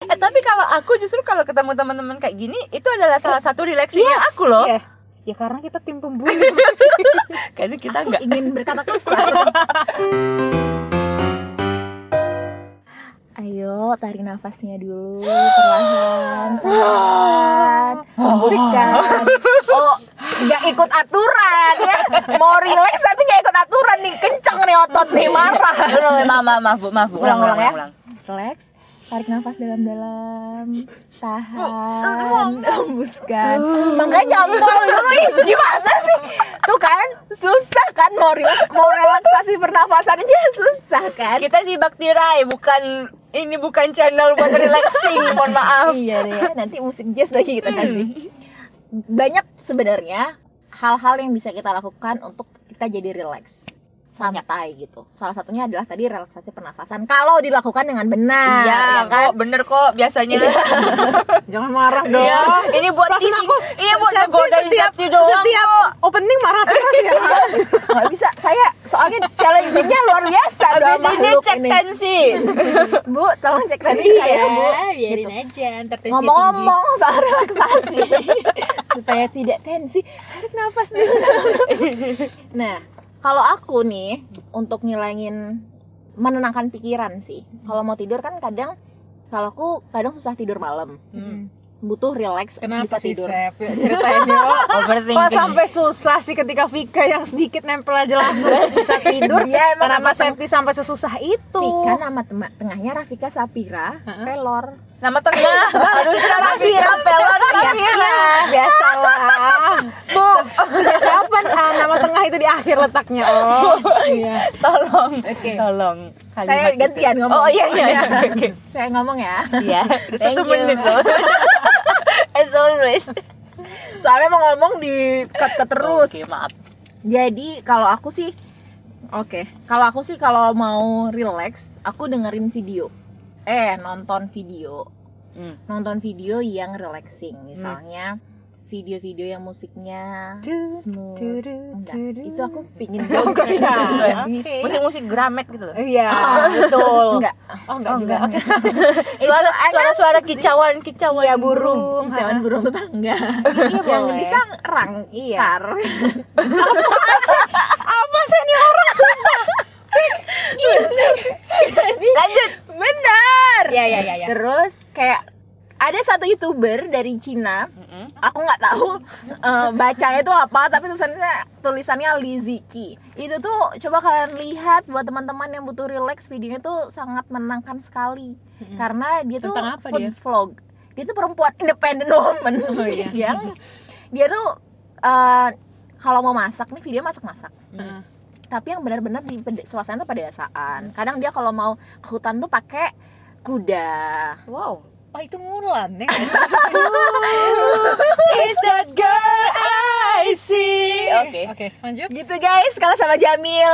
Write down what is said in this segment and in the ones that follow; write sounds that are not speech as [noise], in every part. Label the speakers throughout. Speaker 1: Eh, tapi kalau aku justru kalau ketemu teman-teman kayak gini itu adalah salah satu relaxingnya
Speaker 2: Yes,
Speaker 1: aku loh.
Speaker 2: iya. Ya karena kita tim pembuli.
Speaker 1: [laughs] Kayaknya kita
Speaker 3: Aku
Speaker 1: nggak
Speaker 3: ingin berkata kasar. Ayo, tarik nafasnya dulu perlahan, perlahan, hembuskan. Oh, nggak ikut aturan ya? Mau relax tapi nggak ikut aturan nih, kenceng nih otot nih marah.
Speaker 1: Ulang, maaf, maaf, maaf, Bu, maaf, Bu. Ulang, ulang,
Speaker 3: Ulang-ulang
Speaker 1: ulang,
Speaker 3: ya.
Speaker 1: ulang.
Speaker 3: Relax, tarik nafas dalam-dalam, tahan, hembuskan. Makanya jempol dulu ih, gimana sih? Tuh kan susah kan mau relax, mau relaksasi pernafasan aja susah kan?
Speaker 1: Kita sih bakti Rai, bukan ini bukan channel buat
Speaker 3: [laughs]
Speaker 1: relaxing, mohon maaf. Hmm.
Speaker 3: iya deh nanti musik jazz lagi kita kasih banyak sebenarnya hal-hal yang bisa kita lakukan untuk kita jadi relax santai gitu salah satunya adalah tadi relaksasi pernafasan kalau dilakukan dengan benar
Speaker 1: Iya,
Speaker 3: ya kan
Speaker 1: kok bener kok biasanya.
Speaker 3: Iya,
Speaker 2: Jangan marah dong.
Speaker 1: Iya, ini buat
Speaker 2: Perasaan
Speaker 1: teasing.
Speaker 2: aku
Speaker 1: Iya, buat
Speaker 2: Septi
Speaker 1: ngegodain
Speaker 2: setiap,
Speaker 1: Septi doang.
Speaker 2: setiap opening marah terus ya.
Speaker 3: [laughs] nggak bisa saya soalnya challenge-nya luar biasa dua
Speaker 1: Habis ini
Speaker 3: makhluk
Speaker 1: cek
Speaker 3: [laughs]
Speaker 1: Iya. tensi.
Speaker 3: bu tolong cek tensi saya bu
Speaker 2: Gitu.
Speaker 4: biarin aja
Speaker 1: ya,
Speaker 4: ntar tensi tinggi
Speaker 3: ngomong-ngomong soal relaksasi [laughs] supaya tidak tensi tarik nafas
Speaker 1: [laughs]
Speaker 3: dulu nah kalau aku nih untuk ngilangin menenangkan pikiran sih kalau mau tidur kan kadang kalau aku kadang susah tidur malam
Speaker 4: Hmm.
Speaker 3: butuh relax untuk
Speaker 4: kenapa
Speaker 3: bisa
Speaker 4: sih
Speaker 3: tidur
Speaker 4: Sep Yuk, ceritain yuk
Speaker 1: Overthinking.
Speaker 2: Kok sampai susah sih ketika Vika yang sedikit nempel aja langsung bisa tidur.
Speaker 3: Iya, emang
Speaker 2: Kenapa
Speaker 3: emang tem-
Speaker 2: Septi sampai sesusah itu?
Speaker 3: Vika nama tema- tengahnya Rafika Sapira Pelor
Speaker 1: Nama
Speaker 3: [laughs]
Speaker 1: tengah harusnya Rafika Pelon
Speaker 3: Iya,
Speaker 1: Rafira.
Speaker 3: iya,
Speaker 2: ya? Biasalah.
Speaker 1: Bu,
Speaker 2: Sejak kapan ah, nama tengah itu di akhir letaknya? Oh, iya.
Speaker 1: tolong.
Speaker 3: Oke.
Speaker 1: Tolong.
Speaker 3: Saya
Speaker 1: Kalimat itu.
Speaker 3: gantian ngomong.
Speaker 1: Oh iya iya
Speaker 3: [laughs]
Speaker 1: iya. Oke.
Speaker 3: saya ngomong ya
Speaker 1: Iya, [laughs] udah
Speaker 3: Thank
Speaker 1: satu
Speaker 3: you.
Speaker 1: menit loh. [laughs] As always.
Speaker 3: soalnya mau ngomong di cut terus
Speaker 1: Oke, maaf.
Speaker 3: Jadi kalau aku sih Oke, kalau aku sih kalau mau relax, aku dengerin video. Eh, nonton video.
Speaker 1: Hmm.
Speaker 3: Nonton video yang relaxing, misalnya video-video yang musiknya
Speaker 2: Du, du,
Speaker 3: smooth.
Speaker 2: du,
Speaker 3: Enggak,
Speaker 2: du, du.
Speaker 3: itu aku pingin
Speaker 2: Oh, enggak,
Speaker 3: joget.
Speaker 2: enggak.
Speaker 3: Enggak bisa. [laughs]
Speaker 1: Musik-musik gramet gitu loh.
Speaker 4: Eh,
Speaker 2: Iya,
Speaker 3: Ah,
Speaker 2: betul.
Speaker 3: Enggak.
Speaker 2: Oh, enggak juga. Oke,
Speaker 1: Suara suara suara kicauan kicauan.
Speaker 2: Iya, burung.
Speaker 3: Jangan burung tetangga. Iya, [laughs] yang
Speaker 2: boleh.
Speaker 3: bisa rang.
Speaker 2: Iya.
Speaker 3: Tar.
Speaker 2: Apa sih ini orang sumpah?
Speaker 3: Ini. Jadi
Speaker 1: Lanjut.
Speaker 3: benar.
Speaker 1: Iya,
Speaker 4: ya ya ya ya
Speaker 3: Terus kayak ada satu youtuber dari Cina, aku nggak tahu [laughs] eh, bacanya itu apa, tapi tulisannya tulisannya Liziki. Itu tuh coba kalian lihat buat teman-teman yang butuh relax, videonya tuh sangat menenangkan sekali karena dia tuh
Speaker 4: Tentang apa
Speaker 3: food
Speaker 4: dia?
Speaker 3: vlog. Dia tuh perempuan independent woman
Speaker 4: [laughs] Oh, iya.
Speaker 3: yang dia tuh eh, kalau mau masak nih video masak-masak
Speaker 4: Hmm.
Speaker 3: tapi yang benar-benar di pede- suasana pedesaan kadang dia kalau mau ke hutan tuh pakai kuda
Speaker 4: wow oh itu Mulan ya
Speaker 1: Is that girl I see? Oke.
Speaker 4: oke lanjut
Speaker 3: gitu guys kalau sama [laughs] Jamil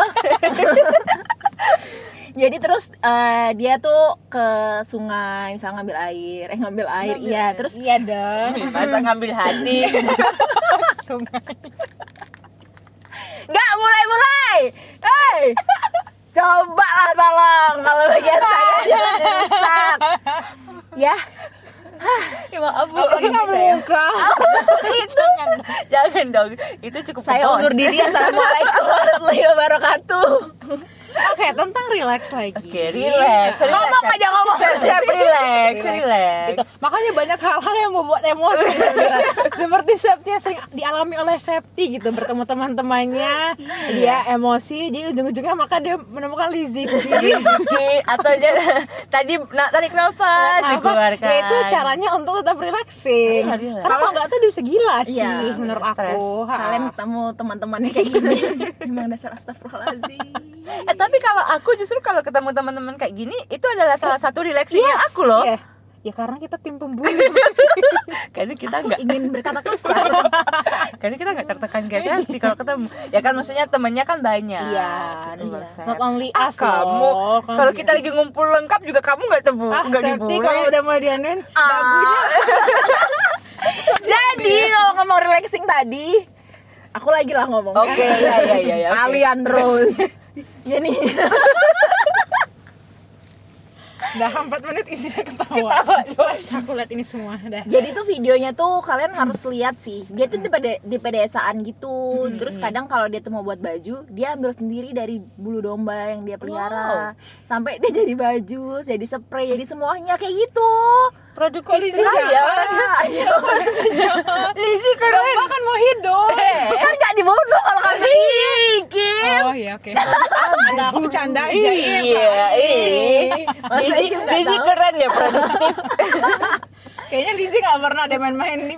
Speaker 3: jadi terus eh, dia tuh ke sungai misalnya ngambil air eh ngambil air iya terus
Speaker 4: iya dong
Speaker 1: Masa ngambil hati.
Speaker 4: sungai
Speaker 3: nggak mulai mulai hey coba lah tolong kalau bagian [laughs] saya jangan rusak ya
Speaker 1: Ya, maaf Bu.
Speaker 2: Apalagi nggak buka.
Speaker 1: Jangan. Jangan dong. Itu cukup
Speaker 3: saya
Speaker 1: kebos.
Speaker 3: undur diri assalamualaikum warahmatullahi wabarakatuh
Speaker 2: Oke, tentang relax lagi.
Speaker 1: Oke, relax. Relax.
Speaker 3: ngomong aja ngomong
Speaker 1: Sep, sep, relax, relax.
Speaker 2: Gitu. Makanya banyak hal-hal yang membuat emosi sebenarnya.
Speaker 1: [laughs]
Speaker 2: Seperti Septi yang sering dialami oleh Septi gitu bertemu teman-temannya
Speaker 1: Iya.
Speaker 2: dia emosi di ujung-ujungnya maka dia menemukan Liziki.
Speaker 1: Rezeki atau jangan tadi nak tarik nafas
Speaker 2: [laughs] Apa?
Speaker 1: Iya, dikeluarkan.
Speaker 2: Ya itu caranya untuk tetap relaxing.
Speaker 1: Iya, relax.
Speaker 2: Karena kalau nggak tuh dia bisa gila sih
Speaker 3: Iya,
Speaker 2: menurut
Speaker 1: stres.
Speaker 2: aku. Ha.
Speaker 3: kalian ketemu teman-temannya kayak gini [laughs] emang dasar astagfirullahaladzim
Speaker 1: Eh, tapi kalau aku justru kalau ketemu teman-teman kayak gini itu adalah salah satu relaxingnya
Speaker 2: Yes,
Speaker 1: aku loh.
Speaker 2: iya. Ya karena kita tim
Speaker 1: [laughs]
Speaker 2: pembuli.
Speaker 1: Karena kita nggak
Speaker 3: ingin
Speaker 1: [laughs]
Speaker 3: berkata kasar
Speaker 1: karena kita nggak tertekan kayak Selvi kalau ketemu. Ya kan maksudnya temennya kan banyak.
Speaker 2: Iya,
Speaker 1: gitu loh,
Speaker 3: iya.
Speaker 1: Sep.
Speaker 2: Not only
Speaker 1: Ah,
Speaker 2: us
Speaker 1: kamu
Speaker 2: loh. ya.
Speaker 1: kalau kita lagi ngumpul lengkap juga kamu nggak tebu
Speaker 2: ah,
Speaker 1: nggak
Speaker 2: Septi
Speaker 1: dibully.
Speaker 2: kalau udah mulai dianuin
Speaker 1: Ah.
Speaker 2: dagunya
Speaker 3: jadi
Speaker 1: Iya.
Speaker 3: kalau ngomong relaxing tadi aku lagi lah ngomong
Speaker 1: Oke, iya, iya, iya, iya, oke. [laughs]
Speaker 3: kalian terus jadi
Speaker 2: Dah 4 menit isinya ketawa. Stres aku lihat ini semua dah.
Speaker 3: Jadi tuh videonya tuh kalian harus lihat sih. Dia tuh di, pede, di pedesaan gitu. Terus kadang kalau dia tuh mau buat baju, dia ambil sendiri dari bulu domba yang dia pelihara. Sampai dia jadi baju, jadi spray, jadi semuanya kayak gitu.
Speaker 1: Produk
Speaker 3: Iya.
Speaker 2: Polisi
Speaker 1: sekali ya.
Speaker 3: Ayo.
Speaker 1: Lizzy keren.
Speaker 2: Domba kan mau hidup.
Speaker 1: [laughs]
Speaker 3: kan gak dibunuh kalau kan
Speaker 2: Iya. Oh iya oke. Enggak aku bercanda aja.
Speaker 1: Iya, iya.
Speaker 3: Masa
Speaker 1: Lizzy,
Speaker 3: juga
Speaker 1: Lizzy
Speaker 3: tahu?
Speaker 1: keren ya produktif. [laughs]
Speaker 2: Kayaknya Lizzy gak pernah ada main-main di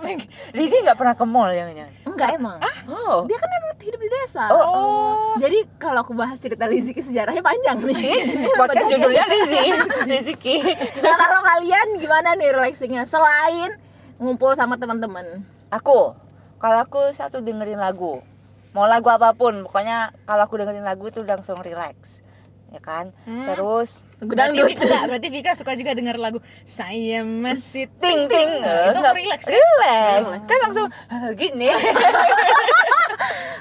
Speaker 1: Lizzy nggak pernah ke mall yang jangan
Speaker 3: Enggak emang.
Speaker 1: Oh.
Speaker 3: Dia kan emang hidup di desa.
Speaker 2: Oh.
Speaker 3: Jadi kalau aku bahas cerita Lizzy ke sejarahnya panjang nih.
Speaker 1: [laughs] Podcast
Speaker 3: Padahal-
Speaker 1: judulnya Lizzy. Lizzy Ki.
Speaker 3: Nah kalau kalian gimana nih relaxingnya selain ngumpul sama teman-teman?
Speaker 1: Aku, kalau aku satu dengerin lagu. Mau lagu apapun, pokoknya kalau aku dengerin lagu tuh langsung relax. Ya kan? Terus
Speaker 3: Gudang
Speaker 2: berarti Vika, enggak, berarti Vika suka juga denger lagu Saya masih
Speaker 1: ting ting
Speaker 2: Nah, itu
Speaker 1: Nggak-
Speaker 2: relax ya?
Speaker 1: eh, relax kan langsung "Ah,
Speaker 2: [laughs]
Speaker 1: gini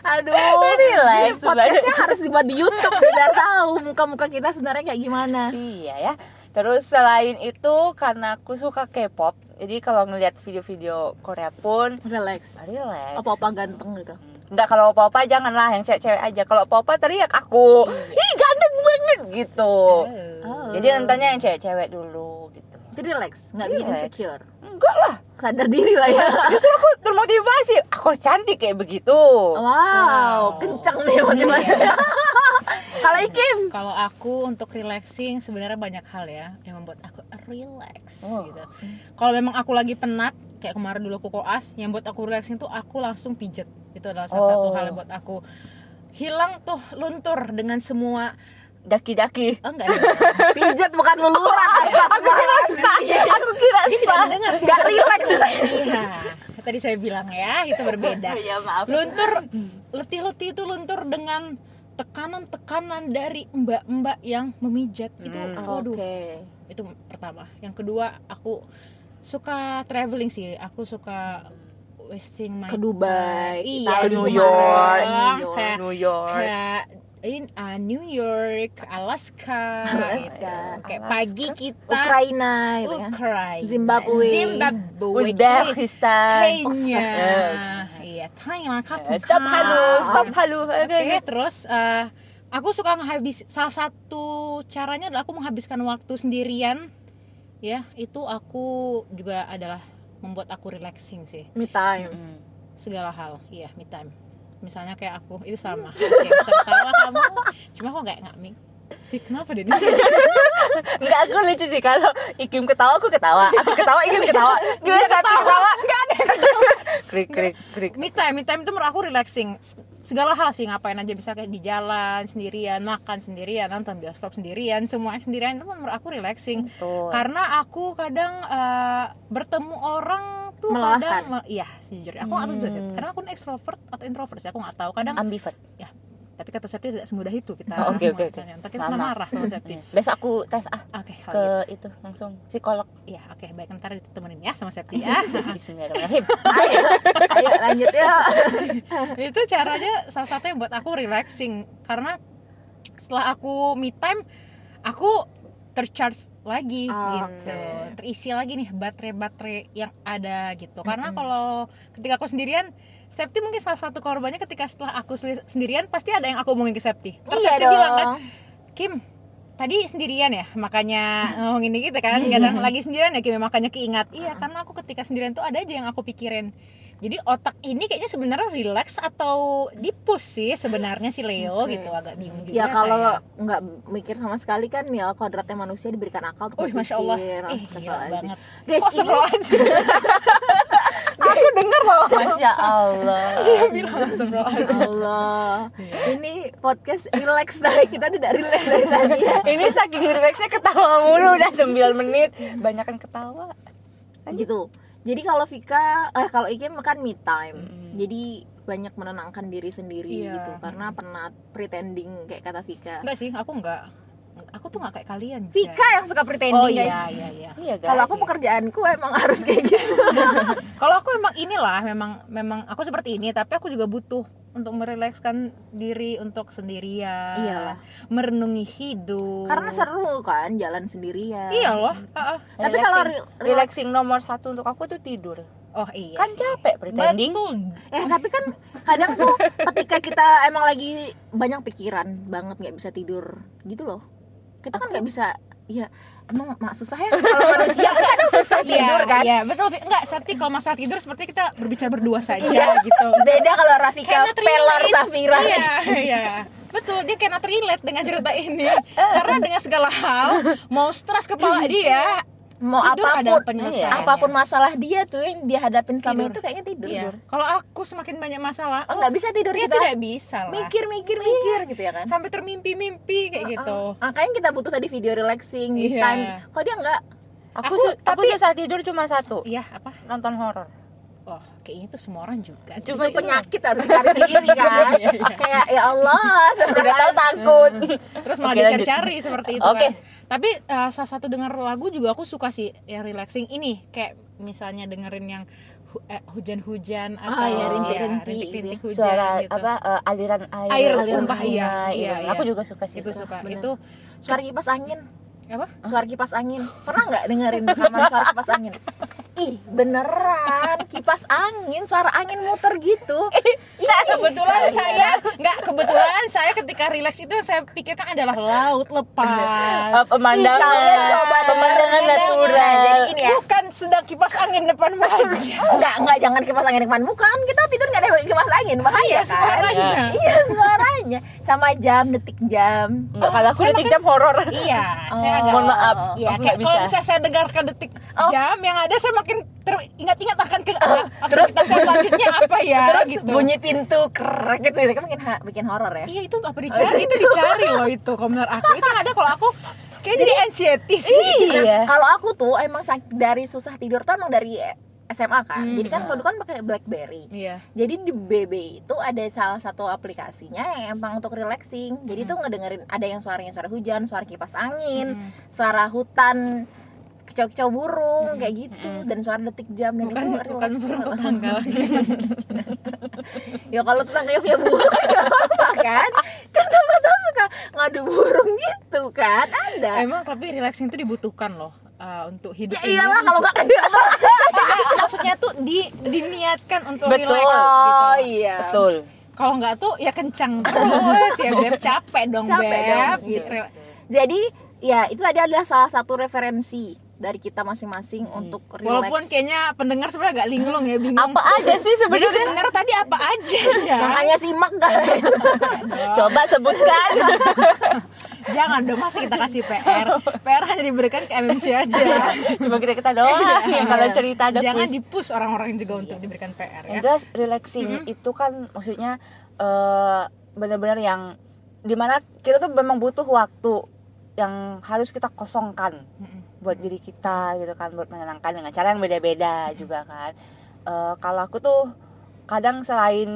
Speaker 3: Aduh,
Speaker 1: [laughs] Relax,
Speaker 3: ini podcastnya harus dibuat di YouTube biar tahu muka-muka kita sebenarnya kayak gimana.
Speaker 1: iya ya terus selain itu karena aku suka K-pop jadi kalau ngelihat video-video Korea pun
Speaker 3: Relax.
Speaker 1: relax
Speaker 2: Oh,
Speaker 3: Apa-apa ganteng gitu.
Speaker 1: Enggak kalau opa-opa janganlah yang cewek-cewek aja. Kalau opa-opa teriak aku,
Speaker 2: Iya.
Speaker 1: "Ih, ganteng banget." gitu.
Speaker 4: Eh.
Speaker 3: Oh.
Speaker 1: Jadi nontonnya yang cewek-cewek dulu gitu.
Speaker 3: Itu relax, nggak bikin
Speaker 1: Relax.
Speaker 3: insecure.
Speaker 1: Enggak lah.
Speaker 3: Sadar diri lah
Speaker 1: [laughs]
Speaker 3: ya.
Speaker 1: Justru aku termotivasi. Aku harus cantik kayak begitu.
Speaker 3: Wow, kencang nih
Speaker 1: [laughs]
Speaker 3: motivasinya. Kalau Ikim,
Speaker 4: Kalau aku untuk relaxing sebenarnya banyak hal ya yang membuat aku relax
Speaker 1: Oh.
Speaker 4: gitu. Kalau memang aku lagi penat kayak kemarin dulu aku koas, yang buat aku relaxing tuh aku langsung pijet. Itu adalah salah satu
Speaker 1: Oh.
Speaker 4: hal yang buat aku hilang tuh luntur dengan semua
Speaker 1: Daki-daki.
Speaker 4: oh, enggak ada.
Speaker 3: pijat bukan luluran
Speaker 4: Oh,
Speaker 3: Iya.
Speaker 1: Susah. Aku kira susah.
Speaker 3: Gak relax sih saya.
Speaker 4: Iya. Tadi saya bilang ya, itu berbeda.
Speaker 1: Ya
Speaker 3: Iya,
Speaker 1: maaf.
Speaker 4: Luntur letih-letih itu luntur dengan tekanan-tekanan dari mbak-mbak yang memijat itu.
Speaker 1: Hmm.
Speaker 4: Waduh,
Speaker 3: Oke.
Speaker 4: itu pertama yang kedua aku suka traveling sih aku suka wasting my
Speaker 3: Ke Dubai,
Speaker 4: time. iya
Speaker 3: Italia,
Speaker 4: di
Speaker 1: New York.
Speaker 4: Jepang,
Speaker 3: New York.
Speaker 4: kayak
Speaker 1: New York.
Speaker 4: kayak in uh, New York Alaska,
Speaker 3: Alaska.
Speaker 4: kayak
Speaker 1: Alaska.
Speaker 4: pagi kita
Speaker 3: Ukraina gitu kan.
Speaker 4: Ukraina,
Speaker 3: Zimbabwe.
Speaker 4: Zimbabwe
Speaker 1: Uzbekistan.
Speaker 4: Kenya
Speaker 1: Eh.
Speaker 4: iya Thailand
Speaker 1: Eh,
Speaker 4: kapan
Speaker 1: Stop halu, stop halu.
Speaker 4: Oke, terus eh, aku suka menghabis salah satu caranya adalah aku menghabiskan waktu sendirian. Ya, itu aku juga adalah membuat aku relaxing sih.
Speaker 3: Me time.
Speaker 4: Segala hal, iya, me time. Misalnya kayak aku, itu sama. Oke, bisa ketawa kamu. Cuma kok kayak nggak mik. Fik, kenapa deh?
Speaker 1: Enggak, aku lucu sih kalau Ikim ketawa, aku ketawa. Aku ketawa, Ikim [laughs] ketawa. Gimana saat ketawa? Enggak ada. [laughs] Krik krik krik.
Speaker 4: me time, me time itu menurut aku relaxing. Segala hal sih ngapain aja bisa kayak di jalan sendirian, makan sendirian, nonton bioskop sendirian, semua sendirian itu menurut aku relaxing.
Speaker 1: Tuh.
Speaker 4: karena aku kadang eh, bertemu orang tuh
Speaker 3: Melelahkan.
Speaker 4: kadang me- iya sejujurnya aku nggak tahu juga sih
Speaker 1: Hmm.
Speaker 4: karena aku ini extrovert atau introvert sih aku nggak tahu kadang
Speaker 1: ambivert.
Speaker 4: tapi kata Septi tidak semudah itu kita
Speaker 1: Oh, [laughs] oke, oke, oke.
Speaker 4: menguatkannya. ntar kita
Speaker 1: Lama.
Speaker 4: kena marah sama
Speaker 1: [laughs]
Speaker 4: Septi
Speaker 1: Iya. Besok aku tes ah
Speaker 4: oke
Speaker 1: ke
Speaker 4: kalau gitu
Speaker 1: itu langsung psikolog.
Speaker 4: ya oke baik ntar ditemenin ya sama Septi
Speaker 1: Iya.
Speaker 4: ya
Speaker 1: [laughs] Bismillahirrahmanirrahim.
Speaker 3: Ayo, ayo lanjut ya. yuk.
Speaker 4: itu caranya salah satunya buat aku relaxing karena setelah aku me time aku tercharge lagi
Speaker 3: Ah, Oke.
Speaker 4: gitu terisi lagi nih baterai-baterai yang ada gitu karena kalau ketika aku sendirian Septi mungkin salah satu korbannya ketika setelah aku seli- sendirian pasti ada yang aku omongin ke Septi. Terus
Speaker 3: Iya
Speaker 4: Septi
Speaker 3: dong.
Speaker 4: bilang kan, Kim, tadi sendirian ya makanya ngomongin ini gitu kan kadang lagi sendirian ya Kim ya, makanya keingat iya karena aku ketika sendirian tuh ada aja yang aku pikirin jadi otak ini kayaknya sebenarnya relax atau dipus sih sebenarnya si Leo
Speaker 3: Oke.
Speaker 4: gitu agak bingung juga
Speaker 3: Ya
Speaker 4: saya.
Speaker 3: kalau nggak mikir sama sekali kan ya kodratnya manusia diberikan akal untuk
Speaker 4: Wih, Masya Allah.
Speaker 3: berpikir.
Speaker 4: Ih, gila
Speaker 3: Astagfirullahaladzim.
Speaker 4: banget.
Speaker 3: Guys,
Speaker 4: Kok
Speaker 3: ini [laughs]
Speaker 4: astagfirullahaladzim?
Speaker 1: aku denger loh. Iya. Masya Allah.
Speaker 4: Dia bilang Iya. astagfirullahaladzim.
Speaker 3: Ya Allah. Ini podcast relax dari kita tidak relax dari tadi. ya.
Speaker 1: Ini saking relaxnya ketawa mulu udah 9 menit. Banyakan ketawa.
Speaker 3: Gitu. Jadi kalau Vika, eh, kalau Ikim kan me time. Jadi banyak menenangkan diri sendiri
Speaker 4: Iya. Nah,
Speaker 3: gitu karena penat pretending kayak kata Vika.
Speaker 4: Enggak sih, aku enggak. Aku tuh enggak kayak kalian.
Speaker 3: Vika yang suka pretending
Speaker 4: Oh
Speaker 3: guys.
Speaker 4: iya, iya, iya.
Speaker 1: Iya guys.
Speaker 3: Kalau aku pekerjaanku emang harus
Speaker 4: [laughs]
Speaker 3: kayak gitu.
Speaker 4: Kalau aku emang inilah, memang memang aku seperti ini, tapi aku juga butuh untuk merilekskan diri untuk sendirian
Speaker 3: Iyalah.
Speaker 4: merenungi hidup
Speaker 3: Karena seru kan jalan sendirian.
Speaker 4: iya loh ah, ah.
Speaker 3: Tapi kalau
Speaker 1: Relaxing-
Speaker 3: re-
Speaker 1: relaxing nomor satu untuk aku tuh tidur.
Speaker 4: oh iya
Speaker 1: kan
Speaker 4: sih.
Speaker 1: capek pretending.
Speaker 4: Betul.
Speaker 3: Eh tapi kan kadang tuh ketika kita emang lagi banyak pikiran banget nggak bisa tidur gitu loh. Kita kan nggak bisa. Iya emang mak susah ya kalau manusia kan kadang susah tidur
Speaker 4: Iya,
Speaker 3: kan.
Speaker 4: Iya, betul. Vi. Enggak, Sabti kalau masalah tidur seperti kita berbicara berdua saja
Speaker 3: [laughs]
Speaker 4: gitu.
Speaker 3: Beda kalau Rafika
Speaker 4: Cannot relate.
Speaker 3: Iya. Pelar Safira.
Speaker 4: Iya, iya. Betul, dia cannot relate dengan cerita
Speaker 3: [laughs] Eh,
Speaker 4: ini. Karena dengan segala hal, mau stres kepala
Speaker 3: Iya.
Speaker 4: dia,
Speaker 3: Mau
Speaker 4: Tidur
Speaker 3: apapun,
Speaker 4: adalah penyelesaiannya.
Speaker 3: iya, apapun masalah dia tuh yang dia hadapin selama
Speaker 4: Tidur.
Speaker 3: itu kayaknya tidur.
Speaker 4: iya. Kalau aku semakin banyak masalah,
Speaker 3: Oh nggak bisa tidur
Speaker 4: dia
Speaker 3: kita
Speaker 4: tidak bisa lah.
Speaker 3: mikir mikir mikir gitu ya kan.
Speaker 4: Sampai termimpi-mimpi kayak gitu.
Speaker 3: Uh, uh, kayaknya kita butuh tadi video relaxing me
Speaker 4: Iya.
Speaker 3: time. Kok dia nggak?
Speaker 1: Aku
Speaker 4: Aku-
Speaker 1: su- aku susah tidur cuma satu,
Speaker 4: Iya, apa?
Speaker 1: nonton horor.
Speaker 4: Oh, kayaknya itu semua orang juga.
Speaker 1: Cuma
Speaker 3: Itu
Speaker 1: itu
Speaker 3: penyakit harus cari sendiri kan.
Speaker 4: Iya, iya.
Speaker 3: Kayak ya Allah,
Speaker 1: udah tahu takut.
Speaker 4: [laughs] terus malah
Speaker 1: Oke, lanjut.
Speaker 4: dicari-cari seperti itu
Speaker 1: Oke.
Speaker 4: kan tapi eh, salah satu denger lagu juga aku suka sih yang relaxing ini kayak misalnya dengerin yang hu- eh,
Speaker 1: Ah,
Speaker 4: hujan-hujan atau
Speaker 3: iya, rintik-rintik
Speaker 4: ya, rintik-rintik hujan
Speaker 1: Suara
Speaker 4: gitu
Speaker 1: apa eh, aliran air,
Speaker 4: Air,
Speaker 1: aliran
Speaker 4: sumpah,
Speaker 1: sungai, gitu.
Speaker 4: iya, iya, iya.
Speaker 1: Aku juga suka sih.
Speaker 4: itu
Speaker 1: suka.
Speaker 4: suka
Speaker 3: bener.
Speaker 4: itu
Speaker 3: suara kipas angin.
Speaker 4: apa
Speaker 3: Suara kipas angin. Pernah nggak dengerin rekaman suara kipas angin? Ih, beneran kipas angin, suara angin muter gitu.
Speaker 4: kebetulan
Speaker 1: Iya,
Speaker 4: saya nggak kebetulan saya ketika relax itu yang saya pikirkan adalah laut
Speaker 1: [laughs] Eh,
Speaker 4: lepas
Speaker 1: pemandangan,
Speaker 3: Kalian coba
Speaker 1: pemandangan
Speaker 3: dengerin
Speaker 1: natural.
Speaker 3: pemandangan. Jadi ini ya.
Speaker 4: bukan sedang kipas angin depan wajah
Speaker 3: Enggak, enggak jangan kipas angin depan bukan. Kita tidur nggak ada kipas angin, bahaya
Speaker 4: [laughs] Iya,
Speaker 3: kan?
Speaker 4: suaranya.
Speaker 3: Iya, suaranya. Sama jam, detik jam.
Speaker 1: Enggak, kalau aku
Speaker 4: saya
Speaker 1: detik jam horor.
Speaker 4: iya saya
Speaker 3: Oh.
Speaker 4: agak
Speaker 1: Mohon maaf,
Speaker 4: Ya,
Speaker 1: aku nggak
Speaker 4: kayak kalau
Speaker 1: bisa.
Speaker 4: misalnya saya dengarkan detik
Speaker 3: Oh.
Speaker 4: jam yang ada saya makin teringat-ingat akan ke Oh. terus saya selanjutnya apa ya
Speaker 3: Terus
Speaker 4: gitu.
Speaker 3: bunyi pintu krek gitu. Itu kan bikin ha- bikin horor ya.
Speaker 4: Iya itu apa dicari? itu dicari loh itu kalau menurut aku itu yang ada kalau aku kayak jadi Gitu. anxiety sih.
Speaker 1: Iya.
Speaker 3: Kalau aku tuh emang sak- dari susah tidur tuh emang dari eh, SMA kan.
Speaker 4: Hmm.
Speaker 3: Jadi kan dulu kan pakai BlackBerry.
Speaker 4: Iya.
Speaker 3: Jadi di BB itu ada salah satu aplikasinya yang emang untuk relaxing. Jadi tuh ngedengerin ada yang suaranya suara hujan, suara kipas angin, suara hutan, kicau-kicau burung kayak gitu dan suara detik jam dan
Speaker 4: Bukan ya,
Speaker 3: itu
Speaker 4: bukan
Speaker 3: relaxing
Speaker 4: burung
Speaker 3: banget.
Speaker 4: tetangga
Speaker 1: [laughs]
Speaker 4: lagi.
Speaker 3: [laughs] ya kalau tetangganya punya burung [laughs] gak apa-apa kan kan sama-sama suka ngadu burung gitu kan
Speaker 1: Iya.
Speaker 3: ada
Speaker 4: Emang tapi relaxing itu dibutuhkan loh eh, untuk hidup
Speaker 3: ya iyalah kalau nggak kan
Speaker 4: [laughs] Gitu. Enggak, maksudnya tuh di diniatkan untuk
Speaker 1: Betul.
Speaker 4: relax
Speaker 3: oh
Speaker 4: gitu.
Speaker 3: iya
Speaker 1: Betul.
Speaker 4: Kalau nggak tuh ya kencang terus ya beb capek dong
Speaker 3: Capek
Speaker 4: beb.
Speaker 3: dong, gitu. jadi ya itu tadi adalah salah satu referensi dari kita masing-masing untuk relax
Speaker 4: Walaupun kayaknya pendengar sebenarnya agak linglung ya bingung.
Speaker 1: Apa aja sih
Speaker 4: Jadi
Speaker 1: sebenarnya?
Speaker 4: sebenarnya tadi apa aja ya?
Speaker 3: [laughs] makanya simak guys
Speaker 1: [laughs] Coba sebutkan.
Speaker 4: Jangan dong masih kita kasih PR. PR hanya diberikan ke MMC aja. Iya.
Speaker 1: Cuma kita kita doang. yang iya, kalau cerita ada
Speaker 4: Jangan
Speaker 1: kuis.
Speaker 4: di-push orang-orang juga untuk diberikan PR
Speaker 1: Yang
Speaker 4: ya.
Speaker 1: jelas relaxing itu kan maksudnya eh, benar-benar yang dimana kita tuh memang butuh waktu yang harus kita kosongkan buat diri kita gitu kan buat menenangkan dengan cara yang beda-beda juga kan. Eh, kalau aku tuh kadang selain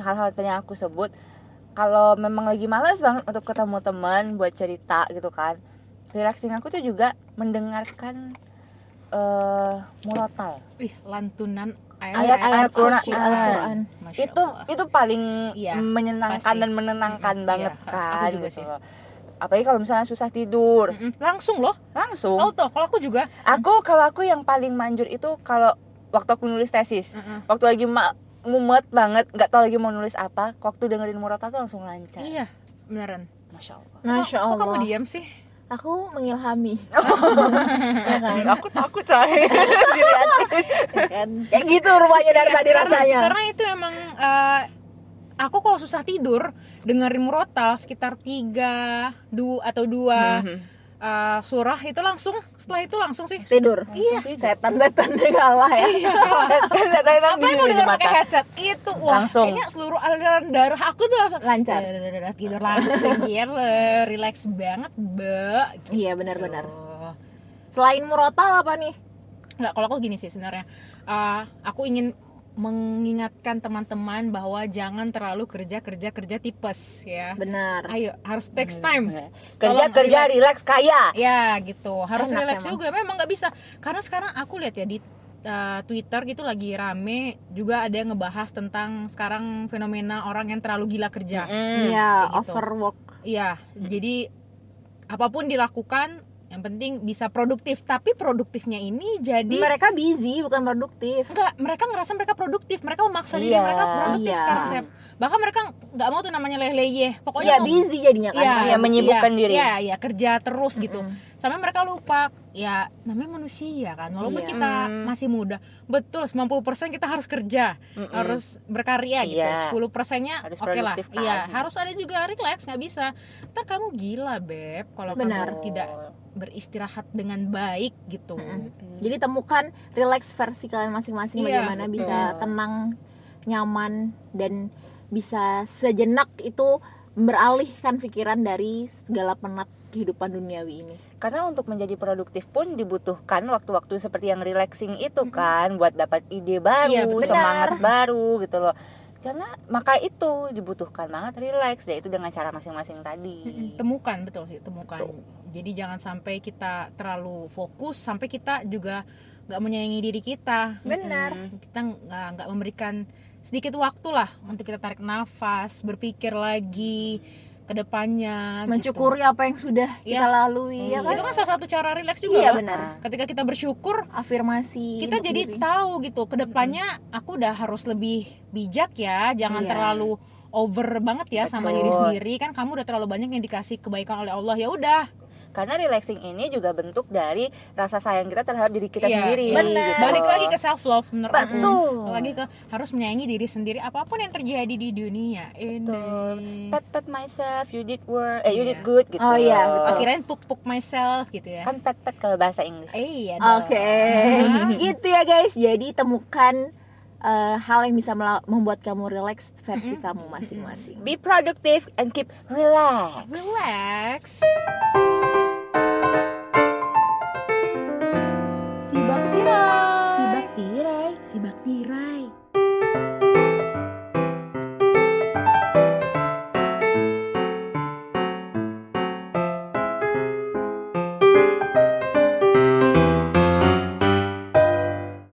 Speaker 1: hal-hal tadi yang aku sebut kalau memang lagi malas banget untuk ketemu teman buat cerita gitu kan relaxing aku tuh juga mendengarkan eh murotal
Speaker 4: Ih, lantunan ayat
Speaker 3: ayat-ayat suci
Speaker 1: Al-Quran.
Speaker 3: Al-Quran
Speaker 4: Masya
Speaker 1: itu
Speaker 4: Allah.
Speaker 1: itu paling
Speaker 4: Iya,
Speaker 1: menyenangkan
Speaker 4: pasti.
Speaker 1: dan menenangkan
Speaker 4: Mm-mm,
Speaker 1: banget
Speaker 4: iya.
Speaker 1: kan
Speaker 4: Aku juga
Speaker 1: gitu
Speaker 4: sih.
Speaker 1: loh. apalagi kalau misalnya susah tidur
Speaker 4: Mm-mm. langsung loh.
Speaker 1: langsung
Speaker 4: Auto kalau aku juga
Speaker 1: aku kalau aku yang paling manjur itu kalau waktu aku nulis tesis
Speaker 4: Mm-mm.
Speaker 1: waktu lagi ma- mumet banget nggak tahu lagi mau nulis apa waktu dengerin Murata tuh langsung lancar
Speaker 4: Iya, beneran.
Speaker 1: masya allah
Speaker 3: Masya
Speaker 4: Kok-
Speaker 3: Allah
Speaker 4: Kok kamu diam sih?
Speaker 3: aku [laughs] mengilhami ya kan?
Speaker 1: aku takut
Speaker 4: [laughs]
Speaker 1: coy
Speaker 3: Ya kan? Kayak gitu rumahnya dari
Speaker 4: Iya,
Speaker 3: tadi
Speaker 4: karena-
Speaker 3: rasanya
Speaker 4: Karena itu emang eh, aku kalau susah tidur dengerin murotal sekitar 3 du atau dua
Speaker 3: Hmm,
Speaker 4: eh, surah itu langsung setelah itu langsung sih.
Speaker 3: tidur
Speaker 1: Iya. [laughs]
Speaker 3: setan-setan kalah ya
Speaker 1: apa
Speaker 4: Apa yang aku dengar pakai headset itu wah
Speaker 1: Langsung.
Speaker 4: kayaknya seluruh aliran darah aku tuh langsung
Speaker 3: Lancar.
Speaker 4: Dadadadada, tidur langsung [laughs] gila, relax banget, Mbak. Gitu.
Speaker 3: iya benar-benar selain murotal apa nih
Speaker 4: Nggak, kalau aku gini sih sebenarnya. Eh, aku ingin mengingatkan teman-teman bahwa jangan terlalu kerja kerja kerja tipes ya.
Speaker 3: benar
Speaker 4: Ayo harus takes time.
Speaker 1: Iya. kerja
Speaker 4: Tolong
Speaker 1: kerja
Speaker 4: relax.
Speaker 1: relax kaya
Speaker 4: Ya gitu, harus
Speaker 3: Enak
Speaker 4: relax
Speaker 3: emang.
Speaker 4: juga. Memang nggak bisa. Karena sekarang aku lihat ya di eh, Twitter gitu lagi rame juga ada yang ngebahas tentang sekarang fenomena orang yang terlalu gila kerja.
Speaker 1: Iya.
Speaker 3: ya
Speaker 4: kayak gitu.
Speaker 3: overwork
Speaker 4: Iya, jadi apapun dilakukan yang penting bisa produktif, tapi produktifnya ini jadi
Speaker 3: mereka busy bukan produktif
Speaker 4: enggak mereka ngerasa mereka produktif, mereka memaksa diri
Speaker 1: Iya,
Speaker 4: mereka produktif
Speaker 3: iya.
Speaker 4: sekarang Sep. Bahkan mereka nggak mau tuh namanya leleye. Pokoknya
Speaker 3: ya
Speaker 4: mau-
Speaker 3: busy jadinya
Speaker 4: Oh,
Speaker 3: kan
Speaker 4: Iya,
Speaker 1: Iya, menyibukkan
Speaker 4: iya,
Speaker 1: diri.
Speaker 4: Iya, iya, kerja terus gitu.
Speaker 3: Mm-mm.
Speaker 4: Sampai mereka lupa, ya namanya manusia kan. Walaupun
Speaker 3: Iya.
Speaker 4: kita
Speaker 1: Mm.
Speaker 4: masih muda, betul 90% kita harus kerja,
Speaker 1: Mm-mm.
Speaker 4: harus berkarya gitu.
Speaker 1: Hmm. Iya.
Speaker 4: 10%-nya
Speaker 1: Harus
Speaker 4: oke lah.
Speaker 1: produktif kan.
Speaker 4: Iya, harus ada juga relax, nggak bisa. Ntar kamu gila, Beb, kalau
Speaker 1: Oh.
Speaker 3: Benar.
Speaker 4: kamu tidak beristirahat dengan baik gitu.
Speaker 1: Hmm.
Speaker 3: Mm-mm. jadi temukan relax versi kalian masing-masing
Speaker 4: Iya,
Speaker 3: bagaimana
Speaker 1: betul.
Speaker 3: bisa tenang nyaman dan bisa sejenak itu beralihkan pikiran dari segala penat kehidupan duniawi ini
Speaker 1: karena untuk menjadi produktif pun dibutuhkan waktu-waktu seperti yang relaxing itu kan buat dapat ide baru,
Speaker 4: Iya, benar.
Speaker 1: semangat baru gitu loh. Karena maka itu dibutuhkan banget relax yaitu dengan cara masing-masing tadi.
Speaker 4: Hmm. Temukan betul sih, temukan.
Speaker 1: Hmm. Betul.
Speaker 4: Jadi jangan sampai kita terlalu fokus sampai kita juga nggak menyayangi diri kita.
Speaker 3: benar
Speaker 4: kita nggak nggak memberikan sedikit waktu lah untuk kita tarik nafas berpikir lagi ke depannya
Speaker 3: mencukuri apa yang sudah kita lalui ya
Speaker 4: gitu.
Speaker 3: kan
Speaker 4: Iya. itu kan salah satu cara rileks juga
Speaker 3: iya
Speaker 4: loh.
Speaker 3: benar Iya,
Speaker 1: Nah,
Speaker 4: ketika kita bersyukur
Speaker 3: afirmasi
Speaker 4: kita
Speaker 3: untuk
Speaker 4: jadi
Speaker 3: diri.
Speaker 4: tahu gitu ke depannya aku udah harus lebih bijak ya jangan
Speaker 3: Iya.
Speaker 4: terlalu over banget ya sama
Speaker 1: Betul.
Speaker 4: diri sendiri kan kamu udah terlalu banyak yang dikasih kebaikan oleh Allah ya udah
Speaker 1: karena relaxing ini juga bentuk dari rasa sayang kita terhadap diri kita
Speaker 4: Iya,
Speaker 1: sendiri.
Speaker 4: iya.
Speaker 3: Benar.
Speaker 1: gitu.
Speaker 4: balik lagi ke self love menurut aku
Speaker 1: Betul.
Speaker 4: lagi ke harus menyayangi diri sendiri apapun yang terjadi di dunia
Speaker 1: Betul.
Speaker 4: ini
Speaker 1: pet pet myself, you did work, eh you
Speaker 4: Iya.
Speaker 1: did good gitu.
Speaker 3: Oh, iya, betul.
Speaker 1: Akhirnya
Speaker 4: kirain puk puk myself gitu ya
Speaker 1: kan pet pet kalau bahasa Inggris.
Speaker 4: iya
Speaker 3: Oke,
Speaker 4: [laughs]
Speaker 3: gitu ya guys. Jadi temukan eh, hal yang bisa mela- membuat kamu relax
Speaker 4: Hmm.
Speaker 3: versi kamu masing-masing.
Speaker 1: Be productive and keep relax.
Speaker 4: relax
Speaker 3: Si Baktirai,
Speaker 1: Tirai.
Speaker 3: si Baktirai.